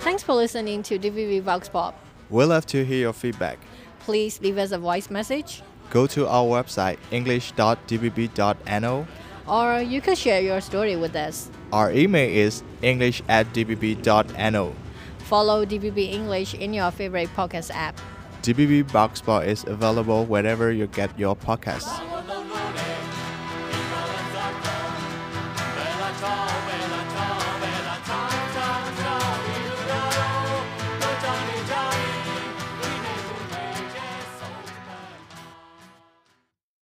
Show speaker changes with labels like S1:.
S1: Thanks for listening to DVB Vox Pop.
S2: We love to hear your feedback.
S1: Please leave us a voice message,
S2: Go to our website english.dbb.no.
S1: or you can share your story with us.
S2: Our email is english at dbb.no.
S1: Follow DVB English in your favorite podcast app.
S2: DBB Boxball is available wherever you get your podcasts.
S3: Bella ciao, bella ciao.